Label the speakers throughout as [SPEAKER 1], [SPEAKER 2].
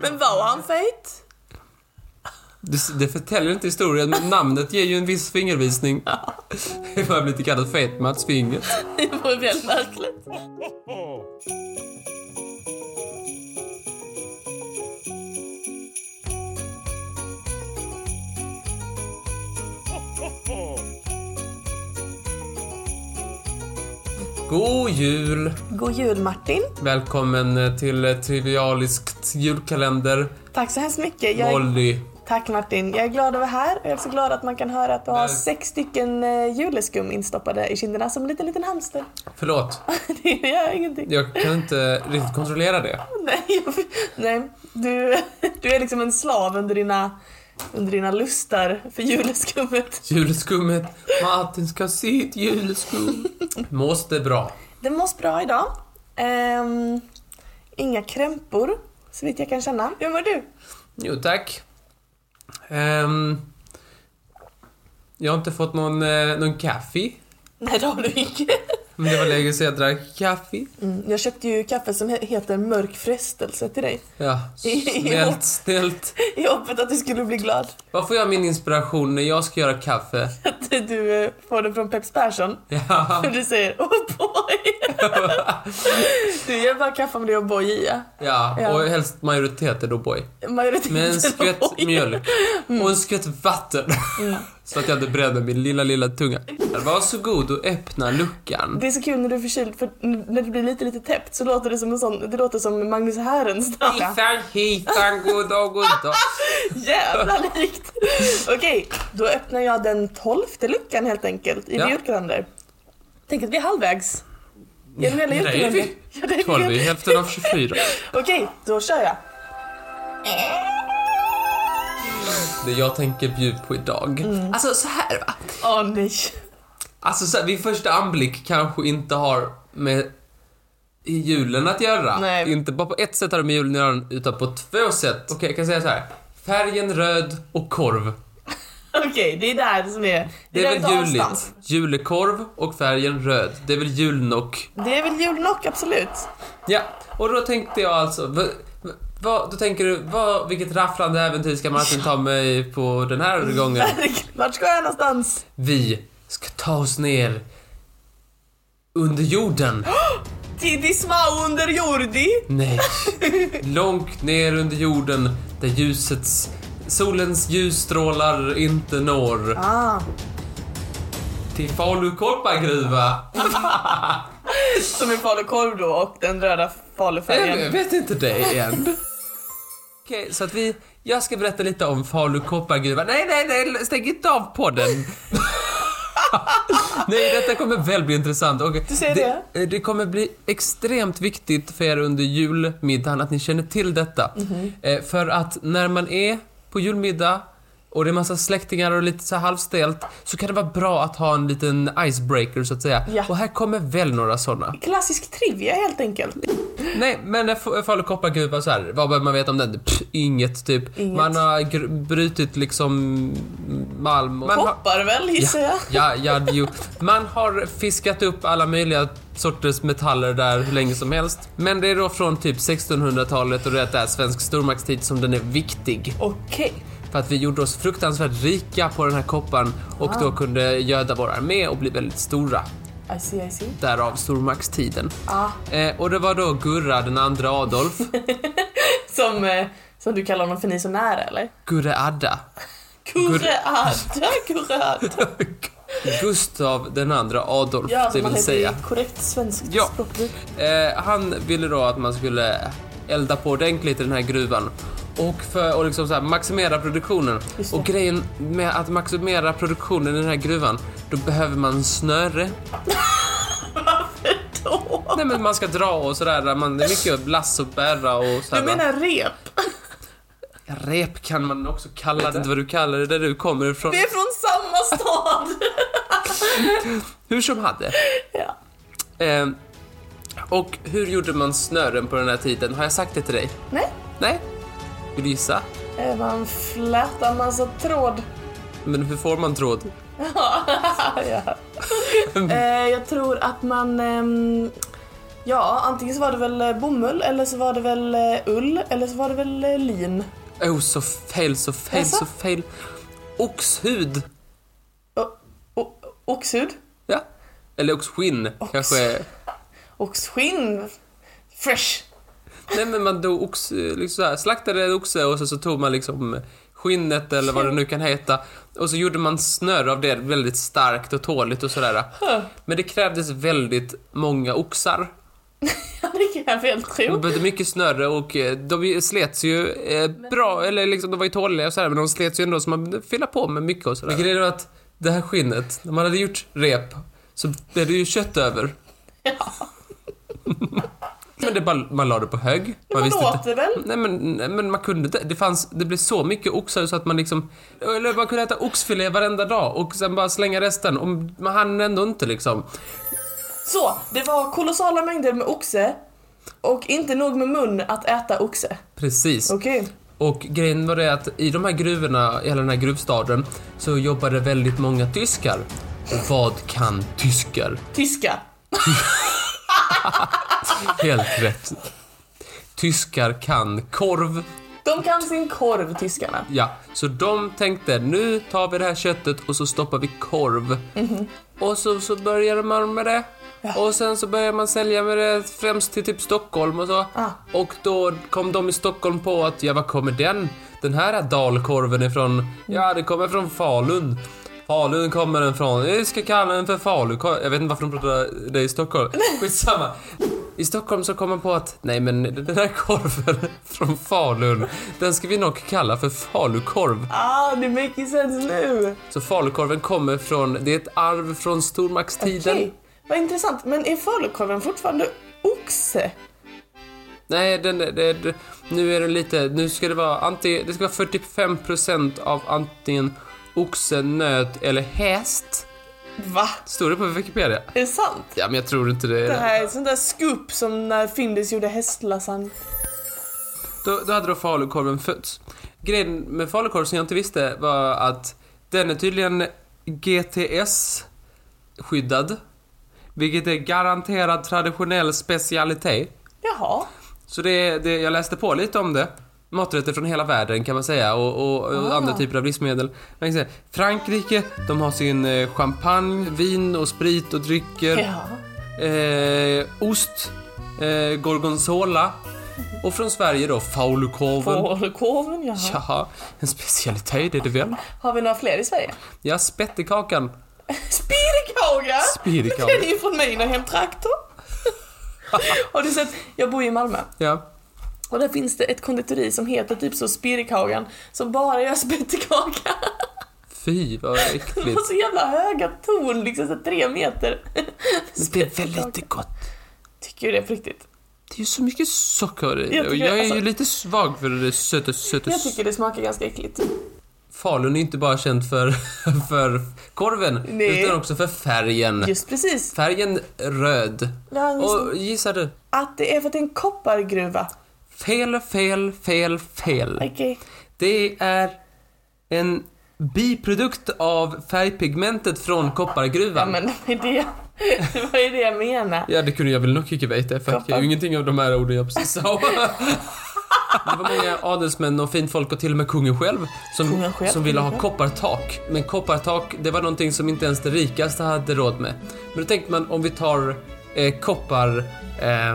[SPEAKER 1] Men var han fet?
[SPEAKER 2] Det, det förtäljer inte historien, men namnet ger ju en viss fingervisning. Jag har blivit kallad fet Mats Finger.
[SPEAKER 1] Det vore väldigt märkligt.
[SPEAKER 2] God jul!
[SPEAKER 1] God jul Martin.
[SPEAKER 2] Välkommen eh, till eh, Trivialiskt julkalender,
[SPEAKER 1] Tack så hemskt mycket. Jag är...
[SPEAKER 2] Molly.
[SPEAKER 1] Tack Martin. Jag är glad att vara här och jag är så glad att man kan höra att du har
[SPEAKER 2] Nej.
[SPEAKER 1] sex stycken eh, juleskum instoppade i kinderna som en liten, liten hamster.
[SPEAKER 2] Förlåt,
[SPEAKER 1] Det gör ingenting.
[SPEAKER 2] jag kan inte riktigt kontrollera det.
[SPEAKER 1] Nej, jag- nej. Du, du är liksom en slav under dina, under dina lustar för juleskummet.
[SPEAKER 2] Julskummet, Martin ska ha sitt julskum. Mås det bra.
[SPEAKER 1] Det mås bra idag. Ehm, inga krämpor, så vitt jag kan känna. Hur mår du?
[SPEAKER 2] Jo, tack. Ehm, jag har inte fått någon, eh, någon kaffe.
[SPEAKER 1] Nej, det har du inte.
[SPEAKER 2] Men det var länge sedan jag drack kaffe.
[SPEAKER 1] Mm, jag köpte ju kaffe som he- heter Mörk frestelse till dig.
[SPEAKER 2] Ja, snällt, snällt.
[SPEAKER 1] I hoppet att du skulle bli glad.
[SPEAKER 2] Var får jag min inspiration när jag ska göra kaffe?
[SPEAKER 1] Att du eh, får den från Peps Persson.
[SPEAKER 2] Ja,
[SPEAKER 1] Och du säger oh boy. du gör bara kaffe om det är O'boy i. ja.
[SPEAKER 2] ja. och helst majoriteten då boy.
[SPEAKER 1] Majoriteten
[SPEAKER 2] Med en skvätt
[SPEAKER 1] O'boy.
[SPEAKER 2] mjölk och en skvätt vatten.
[SPEAKER 1] Mm.
[SPEAKER 2] Så att jag inte bränner min lilla, lilla tunga. Varsågod och öppna luckan.
[SPEAKER 1] Det är så kul när du är förkyld för n- när det blir lite, lite täppt så låter det som en sån, det låter som Magnus Härenstam.
[SPEAKER 2] Hejsan, hejsan, god dag, god dag.
[SPEAKER 1] Jävla likt! Okej, då öppnar jag den tolfte luckan helt enkelt i
[SPEAKER 2] Ja.
[SPEAKER 1] ja. julkalender. Tänk att vi är halvvägs. Genom hela
[SPEAKER 2] Ja, där är
[SPEAKER 1] julkalendern.
[SPEAKER 2] vi.
[SPEAKER 1] Ja, där är vi.
[SPEAKER 2] Tolv i hälften av 24.
[SPEAKER 1] Okej, då kör jag.
[SPEAKER 2] Det jag tänker bjuda på idag. Alltså så här va.
[SPEAKER 1] Åh nej.
[SPEAKER 2] Alltså så här, vid första anblick kanske inte har med i julen att göra.
[SPEAKER 1] Nej.
[SPEAKER 2] Inte bara på ett sätt har det med julen att göra, utan på två sätt. Okej, jag kan säga så här. Färgen röd och korv.
[SPEAKER 1] Okej, det är där som är...
[SPEAKER 2] Det
[SPEAKER 1] där
[SPEAKER 2] är
[SPEAKER 1] vi
[SPEAKER 2] väl
[SPEAKER 1] tar
[SPEAKER 2] juligt?
[SPEAKER 1] avstamp.
[SPEAKER 2] Julekorv och färgen röd. Det är väl julnock?
[SPEAKER 1] Det är väl julnock, absolut.
[SPEAKER 2] Ja, och då tänkte jag alltså... v- v- Vad, då tänker du, vad, vilket rafflande äventyr ska Martin ta mig på den här gången?
[SPEAKER 1] Vart ska jag någonstans?
[SPEAKER 2] Vi ska ta oss ner under jorden.
[SPEAKER 1] Tidisma under jordi.
[SPEAKER 2] Nej. Mm. Långt ner under jorden där ljusets, solens ljusstrålar inte når.
[SPEAKER 1] Ah,
[SPEAKER 2] Till Falukorpagruva.
[SPEAKER 1] som är falukorv då och den röda
[SPEAKER 2] Jag
[SPEAKER 1] falufärgen.
[SPEAKER 2] vet inte det än. Okej, så att vi... Jag ska berätta lite om Falu koppargruva. Nej, nej, nej, stäng inte av podden. nej, detta kommer väl bli intressant. Och
[SPEAKER 1] Du säger
[SPEAKER 2] det? Det kommer bli extremt viktigt för er under julmiddagen att ni känner till detta. Eh, För att när man är på julmiddag och det är massa släktingar och lite så här halvstelt så kan det vara bra att ha en liten icebreaker så att säga.
[SPEAKER 1] Ja.
[SPEAKER 2] Och här kommer väl några sådana.
[SPEAKER 1] Klassisk trivia helt enkelt.
[SPEAKER 2] Nej, men eh, f- Falu koppargruva så här, vad behöver man veta om den? Pff, inget typ.
[SPEAKER 1] Inget.
[SPEAKER 2] Man har gr- brutit liksom malm och... Man har,
[SPEAKER 1] Hoppar väl gissar jag.
[SPEAKER 2] ja, ja, jo. Man har fiskat upp alla möjliga sorters metaller där hur länge som helst. Men det är då från typ 1600-talet och det är svensk stormaktstid som den är viktig.
[SPEAKER 1] Okej.
[SPEAKER 2] För att vi gjorde oss fruktansvärt rika på den här kopparn och då kunde göda vår armé och bli väldigt stora.
[SPEAKER 1] I see, I see.
[SPEAKER 2] Därav stormaktstiden.
[SPEAKER 1] Ah.
[SPEAKER 2] Eh, och det var då Gurra den andra Adolf
[SPEAKER 1] Som, eh, som du kallar honom för ni så nära eller?
[SPEAKER 2] Gurre Adda.
[SPEAKER 1] Kurre Adda, Kurre Adda.
[SPEAKER 2] Gustav den andra Adolf,
[SPEAKER 1] Ja,
[SPEAKER 2] det
[SPEAKER 1] som man
[SPEAKER 2] vill
[SPEAKER 1] heter
[SPEAKER 2] säga.
[SPEAKER 1] i korrekt svenskt
[SPEAKER 2] Ja.
[SPEAKER 1] språkbruk.
[SPEAKER 2] Eh, han ville då att man skulle elda på ordentligt i den här gruvan och, för, och liksom så här, maximera produktionen.
[SPEAKER 1] Just det.
[SPEAKER 2] Och grejen med att maximera produktionen i den här gruvan, då behöver man snöre.
[SPEAKER 1] Då.
[SPEAKER 2] Nej men man ska dra och sådär, man, det är mycket lass och bära och
[SPEAKER 1] Du
[SPEAKER 2] sådär. va?
[SPEAKER 1] menar rep?
[SPEAKER 2] Rep kan man också kalla det. Jag vet inte vad du kallar det där du kommer ifrån.
[SPEAKER 1] Vi är från samma stad!
[SPEAKER 2] Hur som hade.
[SPEAKER 1] Ja.
[SPEAKER 2] Eh, och hur gjorde man snören på den här tiden? Har jag sagt det till dig?
[SPEAKER 1] Nej,
[SPEAKER 2] Nej? Vill du gissa?
[SPEAKER 1] eh, man flätar en massa tråd. Ah,
[SPEAKER 2] Men hur får man tråd? Mm.
[SPEAKER 1] ja. eh, jag tror att man... ehm, Ja, antingen så var det väl eh, bomull eller så var det väl eh, ull eller så var det väl eh, lin.
[SPEAKER 2] Oh, så fel, så fel,
[SPEAKER 1] Jaså?
[SPEAKER 2] så fel. Oxhud.
[SPEAKER 1] O- o- Oxhud.
[SPEAKER 2] Ja. Eller oxskinn kanske.
[SPEAKER 1] Oxskinn. Fresh.
[SPEAKER 2] Nej men man då ox, liksom så här, slaktade en oxe och så, så tog man liksom skinnet eller vad det nu kan heta och så gjorde man snör av det väldigt starkt och tåligt och sådär. Men det krävdes väldigt många oxar.
[SPEAKER 1] Ja, det kan jag väl
[SPEAKER 2] De
[SPEAKER 1] tro.
[SPEAKER 2] behövde mycket snöre och eh, de slets ju eh, bra, eller liksom de var ju tåliga och sådär men de slets ju ändå så man fylla på med mycket och sådär. Grejen var att det här skinnet, när man hade gjort rep så blev det ju kött över.
[SPEAKER 1] Ja.
[SPEAKER 2] Men det bara, man la det på hög. Man,
[SPEAKER 1] Man
[SPEAKER 2] visste inte-
[SPEAKER 1] åt det väl?
[SPEAKER 2] Nej men, nej, men man kunde inte. Det fanns, det blev så mycket oxar så att man liksom, eller man kunde äta oxfilé varenda dag och sen bara slänga resten. Om man hann ändå inte liksom.
[SPEAKER 1] Så, det var kolossala mängder med oxe och inte nog med mun att äta oxe.
[SPEAKER 2] Precis.
[SPEAKER 1] Okej.
[SPEAKER 2] Och grejen var det att i de här gruvorna, i hela den här gruvstaden, så jobbade väldigt många tyskar. Och vad kan tyskar?
[SPEAKER 1] Tyska.
[SPEAKER 2] Helt rätt. Tyskar kan korv.
[SPEAKER 1] De kan sin korv, tyskarna.
[SPEAKER 2] Ja, så de tänkte nu tar vi det här köttet och så stoppar vi korv. Och så, så började man med det. Och sen så började man sälja med det främst till typ Stockholm och så.
[SPEAKER 1] Ah.
[SPEAKER 2] Och då kom de i Stockholm på att ja, var kommer den? Den här dalkorven ifrån? Ja, det kommer från Falun. Falun kommer den från. Vi ska kalla den för Falukorv. Jag vet inte varför de pratar det i Stockholm. Skitsamma. I Stockholm så kom man på att nej men den här korven från Falun, den ska vi nog kalla för Falukorv.
[SPEAKER 1] Ah, det makes sense nu.
[SPEAKER 2] Så falukorven kommer från, det är ett arv från stormaktstiden.
[SPEAKER 1] Okej, vad intressant. Men är falukorven fortfarande oxe?
[SPEAKER 2] Nej, den, den, den, nu är den lite, nu ska det vara antingen, det ska vara 45% av antingen oxe, nöt eller häst.
[SPEAKER 1] Va?
[SPEAKER 2] Står det på Wikipedia?
[SPEAKER 1] Är det sant?
[SPEAKER 2] Ja, men jag tror inte det.
[SPEAKER 1] Det här är sånt där scoop som när Findus gjorde hästlasagne.
[SPEAKER 2] Då, då hade då falukorven fötts. Grejen med falukorv som jag inte visste var att den är tydligen GTS-skyddad. Vilket är garanterad traditionell specialitet.
[SPEAKER 1] Jaha.
[SPEAKER 2] Så det, det, jag läste på lite om det. Maträtter från hela världen kan man säga och, och, och
[SPEAKER 1] Ah.
[SPEAKER 2] andra typer av livsmedel. Man kan säga, Frankrike, de har sin eh, champagne, vin och sprit och drycker.
[SPEAKER 1] Ja.
[SPEAKER 2] Eh, ost, eh, gorgonzola. Och från Sverige då, falukorven.
[SPEAKER 1] Falukorven, jaha.
[SPEAKER 2] Jaha, en specialitet är det väl?
[SPEAKER 1] Har vi några fler i Sverige?
[SPEAKER 2] Ja, spettekakan.
[SPEAKER 1] Spirikaga!
[SPEAKER 2] Spirikaga.
[SPEAKER 1] Den är ju från mina hemtrakter. Har du sett? Jag bor ju i Malmö.
[SPEAKER 2] Ja.
[SPEAKER 1] Och där finns det ett konditori som heter typ så Spirikhagen som bara gör spettekaka.
[SPEAKER 2] Fy, vad
[SPEAKER 1] De
[SPEAKER 2] äckligt.
[SPEAKER 1] har så jävla höga torn, liksom så tre meter.
[SPEAKER 2] Men det är väl lite gott?
[SPEAKER 1] Tycker ju det på riktigt.
[SPEAKER 2] Det är ju så mycket socker i
[SPEAKER 1] Jag
[SPEAKER 2] det och
[SPEAKER 1] tycker-
[SPEAKER 2] jag är ju
[SPEAKER 1] alltså-
[SPEAKER 2] lite svag för det söta, söta,
[SPEAKER 1] Jag tycker det smakar ganska äckligt.
[SPEAKER 2] Falun är inte bara känt för, för korven,
[SPEAKER 1] Nej.
[SPEAKER 2] utan också för färgen.
[SPEAKER 1] Just precis.
[SPEAKER 2] Färgen röd.
[SPEAKER 1] Ja, just-
[SPEAKER 2] Och gissa du?
[SPEAKER 1] Att det är för att det är en koppargruva.
[SPEAKER 2] Fel, fel, fel, fel.
[SPEAKER 1] Okej.
[SPEAKER 2] Det är en biprodukt av färgpigmentet från
[SPEAKER 1] Ja
[SPEAKER 2] koppargruvan.
[SPEAKER 1] men det var ju det, det, var ju det jag menade.
[SPEAKER 2] Ja, det kunde jag väl nog icke veta, för jag
[SPEAKER 1] Koppar.
[SPEAKER 2] är ju ingenting av de här orden jag precis sa. Det var många adelsmän och fint folk och till och med kungen själv som,
[SPEAKER 1] Kungen själv,
[SPEAKER 2] som ville ha
[SPEAKER 1] kungen
[SPEAKER 2] koppartak. Men koppartak, det var någonting som inte ens det rikaste hade råd med. Men då tänkte man om vi tar eh, koppar... Eh,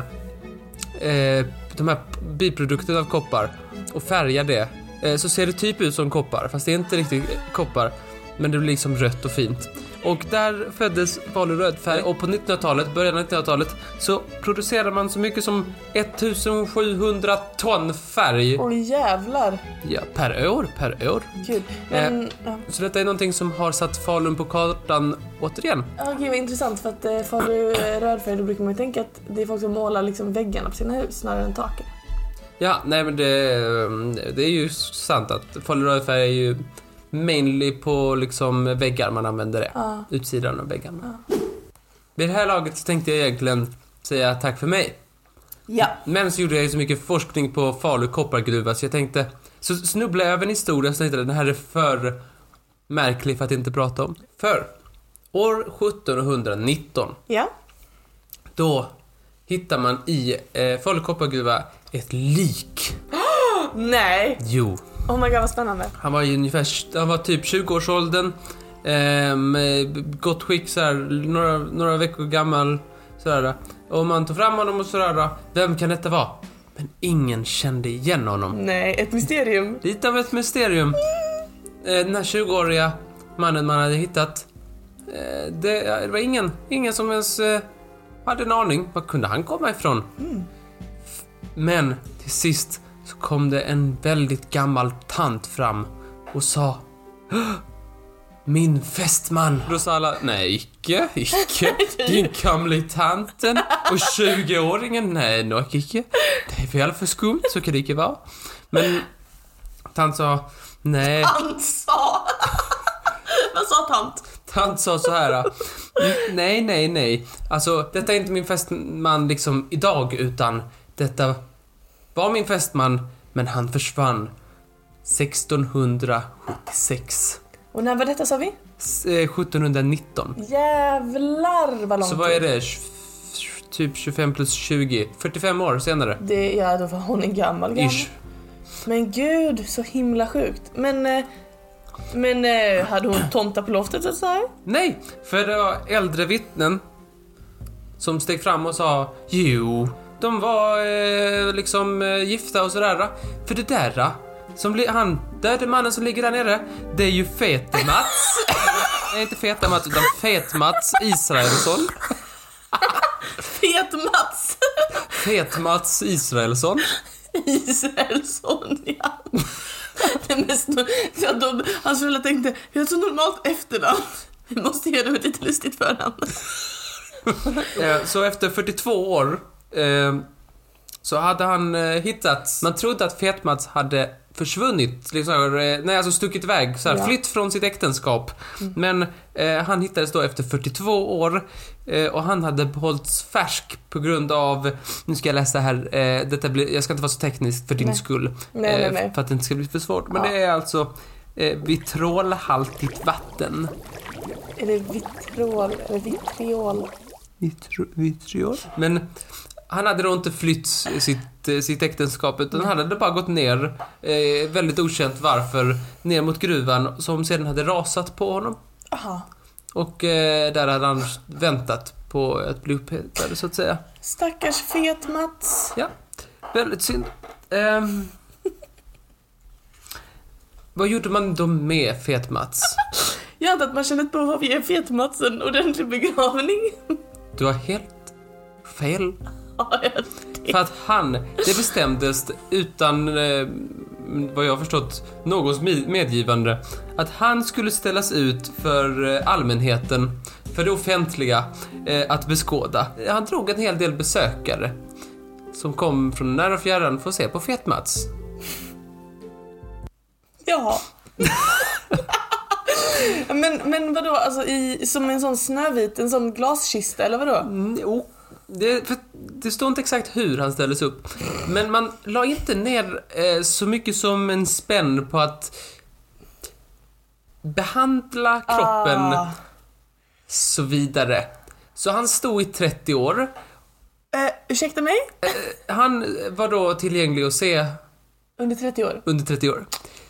[SPEAKER 2] eh, de här biprodukterna av koppar och färgar det. Eh, så ser det typ ut som koppar, fast det är inte riktigt eh, koppar. Men det blir liksom rött och fint. Och där föddes Falu rödfärg och på 1900-talet, början av 1900-talet, så producerade man så mycket som 1700 ton färg
[SPEAKER 1] Åh jävlar.
[SPEAKER 2] ja, per år, per år.
[SPEAKER 1] Gud. Men, ja.
[SPEAKER 2] Så detta är någonting som har satt Falun på kartan återigen.
[SPEAKER 1] Ja, gud vad intressant för att eh, får du eh, rödfärg då brukar man ju tänka att det är folk som målar liksom väggarna på sina hus snarare än taket.
[SPEAKER 2] Ja, nej men det, det är ju sant att Falu rödfärg är ju mainly på liksom väggar man använder det.
[SPEAKER 1] Ja.
[SPEAKER 2] Utsidan av väggarna. Vid det här laget så tänkte jag egentligen säga tack för mig.
[SPEAKER 1] Ja.
[SPEAKER 2] Men så gjorde jag ju så mycket forskning på Falu koppargruva så jag tänkte, så snubblade jag över en historia så tänkte jag den här är för märklig för att inte prata om. För år 1719
[SPEAKER 1] Ja.
[SPEAKER 2] Då hittar man i eh, Falu koppargruva ett lik.
[SPEAKER 1] Nej!
[SPEAKER 2] Jo,
[SPEAKER 1] Oh my god vad spännande.
[SPEAKER 2] han var ju ungefär, han var typ 20-årsåldern. ehm, Eh, gott skick såhär, några, några veckor gammal. Sådär. Och man tog fram honom och sådär. Vem kan detta vara? Men ingen kände igen honom.
[SPEAKER 1] Nej, ett mysterium.
[SPEAKER 2] Lite av ett mysterium. Eh, Den här 20-åriga mannen man hade hittat. eh, Det, ja, det var ingen, ingen som ens eh, hade en aning. Var kunde han komma ifrån? F- Men till sist så kom det en väldigt gammal tant fram och sa "Hå! Min fästman! Då sa alla nej, icke, icke. Din gamle tanten och 20-åringen, nej, nog icke. Det är väl för skumt, så kan det icke vara. Men Tant sa, nej.
[SPEAKER 1] Han sa... vad sa tant?
[SPEAKER 2] Tant sa så här. Nej, nej, nej. Alltså, detta är inte min fästman liksom idag, utan detta var min fästman, men han försvann 1676.
[SPEAKER 1] Och när var detta sa vi?
[SPEAKER 2] S- eh, 1719.
[SPEAKER 1] Jävlar vad långt.
[SPEAKER 2] Så vad är det? Tj- Typ 25 plus 20. 45 år senare.
[SPEAKER 1] Det, ja, då var hon en gammal gammal.
[SPEAKER 2] Ish.
[SPEAKER 1] Men gud, så himla sjukt. Men... eh, Men eh, hade hon tomtar på loftet så att säga?
[SPEAKER 2] Nej, för det var äldre vittnen som steg fram och sa jo, de var eh, liksom eh, gifta och sådär. För det där eh, som li- han döde mannen som ligger där nere, det är ju Fete-Mats. Nej, inte Feta-Mats utan Fet-Mats Israelsson.
[SPEAKER 1] Fet Mats
[SPEAKER 2] Fet-Mats Israelsson.
[SPEAKER 1] Israelsson, ja. Det mest, ja de, hans föräldrar alltså, tänkte, vi har ett så normalt efternamn. Vi måste ge dem ett lite lustigt förnamn.
[SPEAKER 2] Eh, Så efter 42 år eh, så hade han eh, hittats. Man trodde att Fetmats hade försvunnit, liksom, eh, nej alltså stuckit iväg, så här,
[SPEAKER 1] Ja. Mm.
[SPEAKER 2] flytt från sitt äktenskap. Men eh, han hittades då efter 42 år eh, och han hade behållits färsk på grund av, nu ska jag läsa här, eh, detta blir, jag ska inte vara så teknisk för din
[SPEAKER 1] Nej.
[SPEAKER 2] skull. eh,
[SPEAKER 1] Nej, nej, nej.
[SPEAKER 2] För att det inte ska bli för svårt. Men
[SPEAKER 1] Ja.
[SPEAKER 2] det är alltså eh, vitrolhaltigt vatten.
[SPEAKER 1] Är det vitrol? Är det vitriol?
[SPEAKER 2] Vitriol. Men han hade då inte flytt sitt, eh, sitt äktenskap utan han hade bara gått ner, eh, väldigt okänt varför, ner mot gruvan som sedan hade rasat på honom.
[SPEAKER 1] Aha.
[SPEAKER 2] Och eh, där hade han väntat på att bli upphettad så att säga.
[SPEAKER 1] Stackars fet Mats.
[SPEAKER 2] Ja, väldigt synd. Ehm. vad gjorde man då med Fet-Mats?
[SPEAKER 1] Jag antar att man känner ett behov av att ge fet Mats en ordentlig begravning.
[SPEAKER 2] Du har helt fel.
[SPEAKER 1] Ja, jag-
[SPEAKER 2] För att han, det bestämdes utan, eh, vad jag har förstått, någons mi- medgivande att han skulle ställas ut för eh, allmänheten, för det offentliga, eh, att beskåda. Han drog en hel del besökare som kom från nära och fjärran för att se på Fet-Mats.
[SPEAKER 1] Jaha. men, men vadå, alltså i, som en sån snövit, en sån glaskista eller vadå?
[SPEAKER 2] Mm, jo. Det, för, det står inte exakt hur han ställdes upp. Men man la inte ner eh, så mycket som en spänn på att behandla kroppen
[SPEAKER 1] Ah.
[SPEAKER 2] så vidare. Så han stod i 30 år. Eh,
[SPEAKER 1] Eh, ursäkta mig?
[SPEAKER 2] Han var då tillgänglig att se
[SPEAKER 1] Under 30 år?
[SPEAKER 2] under 30 år.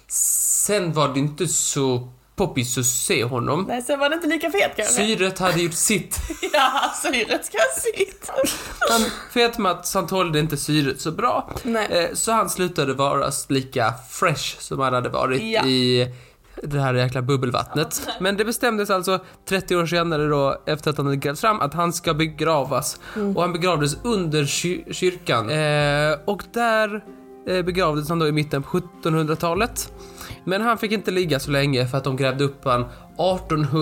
[SPEAKER 2] Sen var det inte så poppis att se honom.
[SPEAKER 1] Nej, sen var det inte lika fet kanske?
[SPEAKER 2] Syret hade gjort sitt.
[SPEAKER 1] Ja, syret ska sitt.
[SPEAKER 2] Han, Fet-Mats, han tålde inte syret så bra.
[SPEAKER 1] Nej.
[SPEAKER 2] Eh, Så han slutade vara lika fresh som han hade varit
[SPEAKER 1] Ja.
[SPEAKER 2] i det här jäkla bubbelvattnet. Men det bestämdes alltså 30 år senare då, efter att han hade grävts fram, att han ska begravas. Och han begravdes under ky- kyrkan. Eh, och där eh, begravdes han då i mitten på 1700-talet. Men han fick inte ligga så länge för att de grävde upp han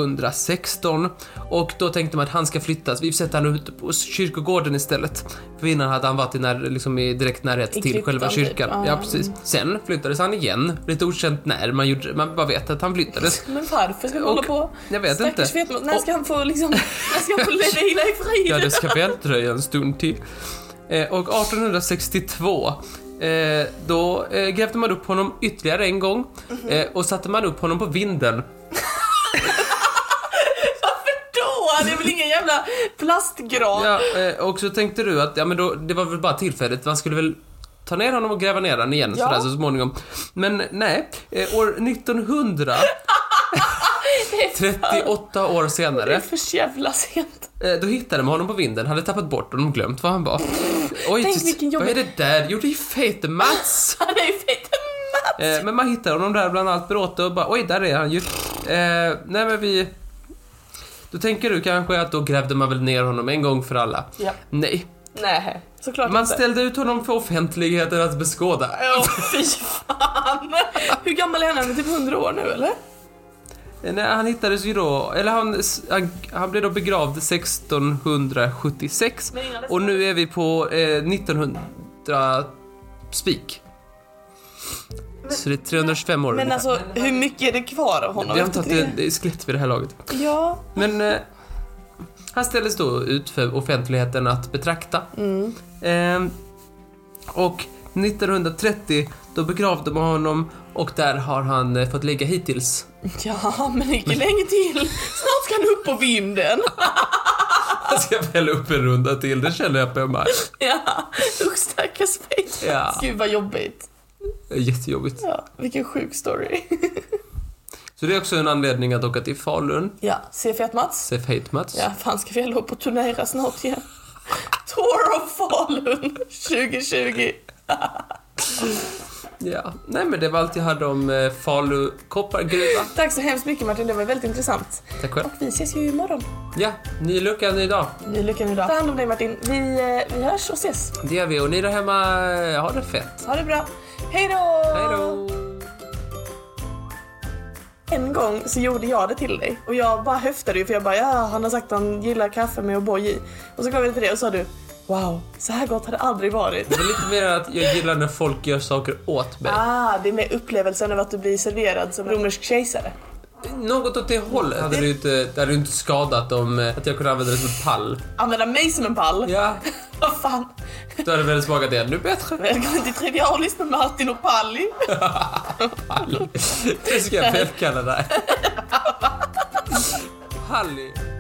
[SPEAKER 2] 1816 och då tänkte man att han ska flyttas. Vi sätter han ute på kyrkogården istället. För innan hade han varit i, när, liksom i direkt närhet
[SPEAKER 1] I
[SPEAKER 2] till
[SPEAKER 1] kryptan
[SPEAKER 2] själva
[SPEAKER 1] typ.
[SPEAKER 2] kyrkan.
[SPEAKER 1] Ja,
[SPEAKER 2] Ja, precis. Sen flyttades han igen. Lite okänt när man gjorde det. Man bara vet att han flyttades.
[SPEAKER 1] Men varför ska vi
[SPEAKER 2] Och-
[SPEAKER 1] hålla på?
[SPEAKER 2] jag vet
[SPEAKER 1] Stackars
[SPEAKER 2] inte.
[SPEAKER 1] Fet Mats. När ska han få liksom, när ska han få leva i frid?
[SPEAKER 2] Ja, det ska väl dröja en stund till. Eh, och 1862 Eh, då eh, grävde man upp honom ytterligare en gång
[SPEAKER 1] Mhm.
[SPEAKER 2] eh, och satte man upp honom på vinden
[SPEAKER 1] Varför då? Det är väl ingen jävla jävla plastgran.
[SPEAKER 2] Ja, eh, och så tänkte du att ja, men då, det var väl bara tillfälligt, man skulle väl ta ner honom och gräva ner honom igen
[SPEAKER 1] Ja.
[SPEAKER 2] sådär så småningom. Men nej, eh, år 1900,
[SPEAKER 1] Det är
[SPEAKER 2] 38 år
[SPEAKER 1] Det är
[SPEAKER 2] senare,
[SPEAKER 1] för jävla sent.
[SPEAKER 2] eh, då hittade man honom på vinden, hade tappat bort honom och glömt var han var. Oj,
[SPEAKER 1] Tänk vilken
[SPEAKER 2] vad är
[SPEAKER 1] jobbig-
[SPEAKER 2] det där? Jo, det är fete Mats!
[SPEAKER 1] Han är ju fett matt.
[SPEAKER 2] Eh, men man hittar honom där bland allt bråte och bara oj, där är han ju. Eh, nej men vi... Då tänker du kanske att då grävde man väl ner honom en gång för alla.
[SPEAKER 1] Ja.
[SPEAKER 2] Nej,
[SPEAKER 1] Nej, såklart
[SPEAKER 2] Man
[SPEAKER 1] inte.
[SPEAKER 2] ställde ut honom för offentligheten att beskåda.
[SPEAKER 1] Åh fy fan! Hur gammal är han? Han är typ 100 år nu eller?
[SPEAKER 2] Nej, han hittades ju då, eller han, han, han blev då begravd 1676
[SPEAKER 1] Men innan dess-
[SPEAKER 2] och nu är vi på eh, 1900 spik. Så det är 325 år
[SPEAKER 1] Men
[SPEAKER 2] ungefär.
[SPEAKER 1] alltså hur mycket är det kvar av honom?
[SPEAKER 2] Vi antar att
[SPEAKER 1] efter
[SPEAKER 2] det, det är skelett vid det här laget.
[SPEAKER 1] det? Ja.
[SPEAKER 2] Men eh, han ställdes då ut för offentligheten att betrakta.
[SPEAKER 1] Mm.
[SPEAKER 2] Eh, och 1930 då begravde man honom och där har han eh, fått ligga hittills.
[SPEAKER 1] Ja, men inte länge till. Snart ska han upp på vinden.
[SPEAKER 2] Alltså, Jag ska väl upp en runda till, det känner jag på mig.
[SPEAKER 1] Ja, usch stackars Peyton.
[SPEAKER 2] Ja.
[SPEAKER 1] Gud vad jobbigt.
[SPEAKER 2] Det är Jättejobbigt.
[SPEAKER 1] Ja, vilken sjuk story.
[SPEAKER 2] Så det är också en anledning att åka till Falun.
[SPEAKER 1] Ja, se fet Mats.
[SPEAKER 2] Sef Hate Mats.
[SPEAKER 1] Ja, fan ska vi hålla på och turnera snart igen? Tour of Falun 2020.
[SPEAKER 2] Ja. Nej men det var allt jag hade om eh, Falu koppargruva.
[SPEAKER 1] Tack så hemskt mycket Martin, det var väldigt intressant.
[SPEAKER 2] Tack själv.
[SPEAKER 1] Och vi ses ju imorgon.
[SPEAKER 2] Ja, ny lucka, ny dag.
[SPEAKER 1] Ny lycka nu då. Ta hand om dig Martin. Vi, eh, vi hörs och ses.
[SPEAKER 2] Det gör vi och ni där hemma, eh, ha det fett.
[SPEAKER 1] Ha det bra. Hej då!
[SPEAKER 2] Hej då!
[SPEAKER 1] En gång så gjorde jag det till dig och jag bara höftade ju för jag bara ja, han har sagt att han gillar kaffe med O'boy i. Och så gav jag det till dig och sa du wow, så här gott har det aldrig varit.
[SPEAKER 2] Det är lite mer att jag gillar när folk gör saker åt mig.
[SPEAKER 1] Ah, det är med upplevelsen av att du blir serverad som romersk kejsare.
[SPEAKER 2] Något åt det hållet. Hade du inte, det hade du inte skadat om eh, att jag kunde använda det som en pall.
[SPEAKER 1] Använda mig som en pall?
[SPEAKER 2] Ja.
[SPEAKER 1] Vad fan?
[SPEAKER 2] Då hade det väl smakat ännu bättre.
[SPEAKER 1] Välkommen till Trivialis med Martin och Palli.
[SPEAKER 2] Pall. Det ska jag välkalla dig. Halli.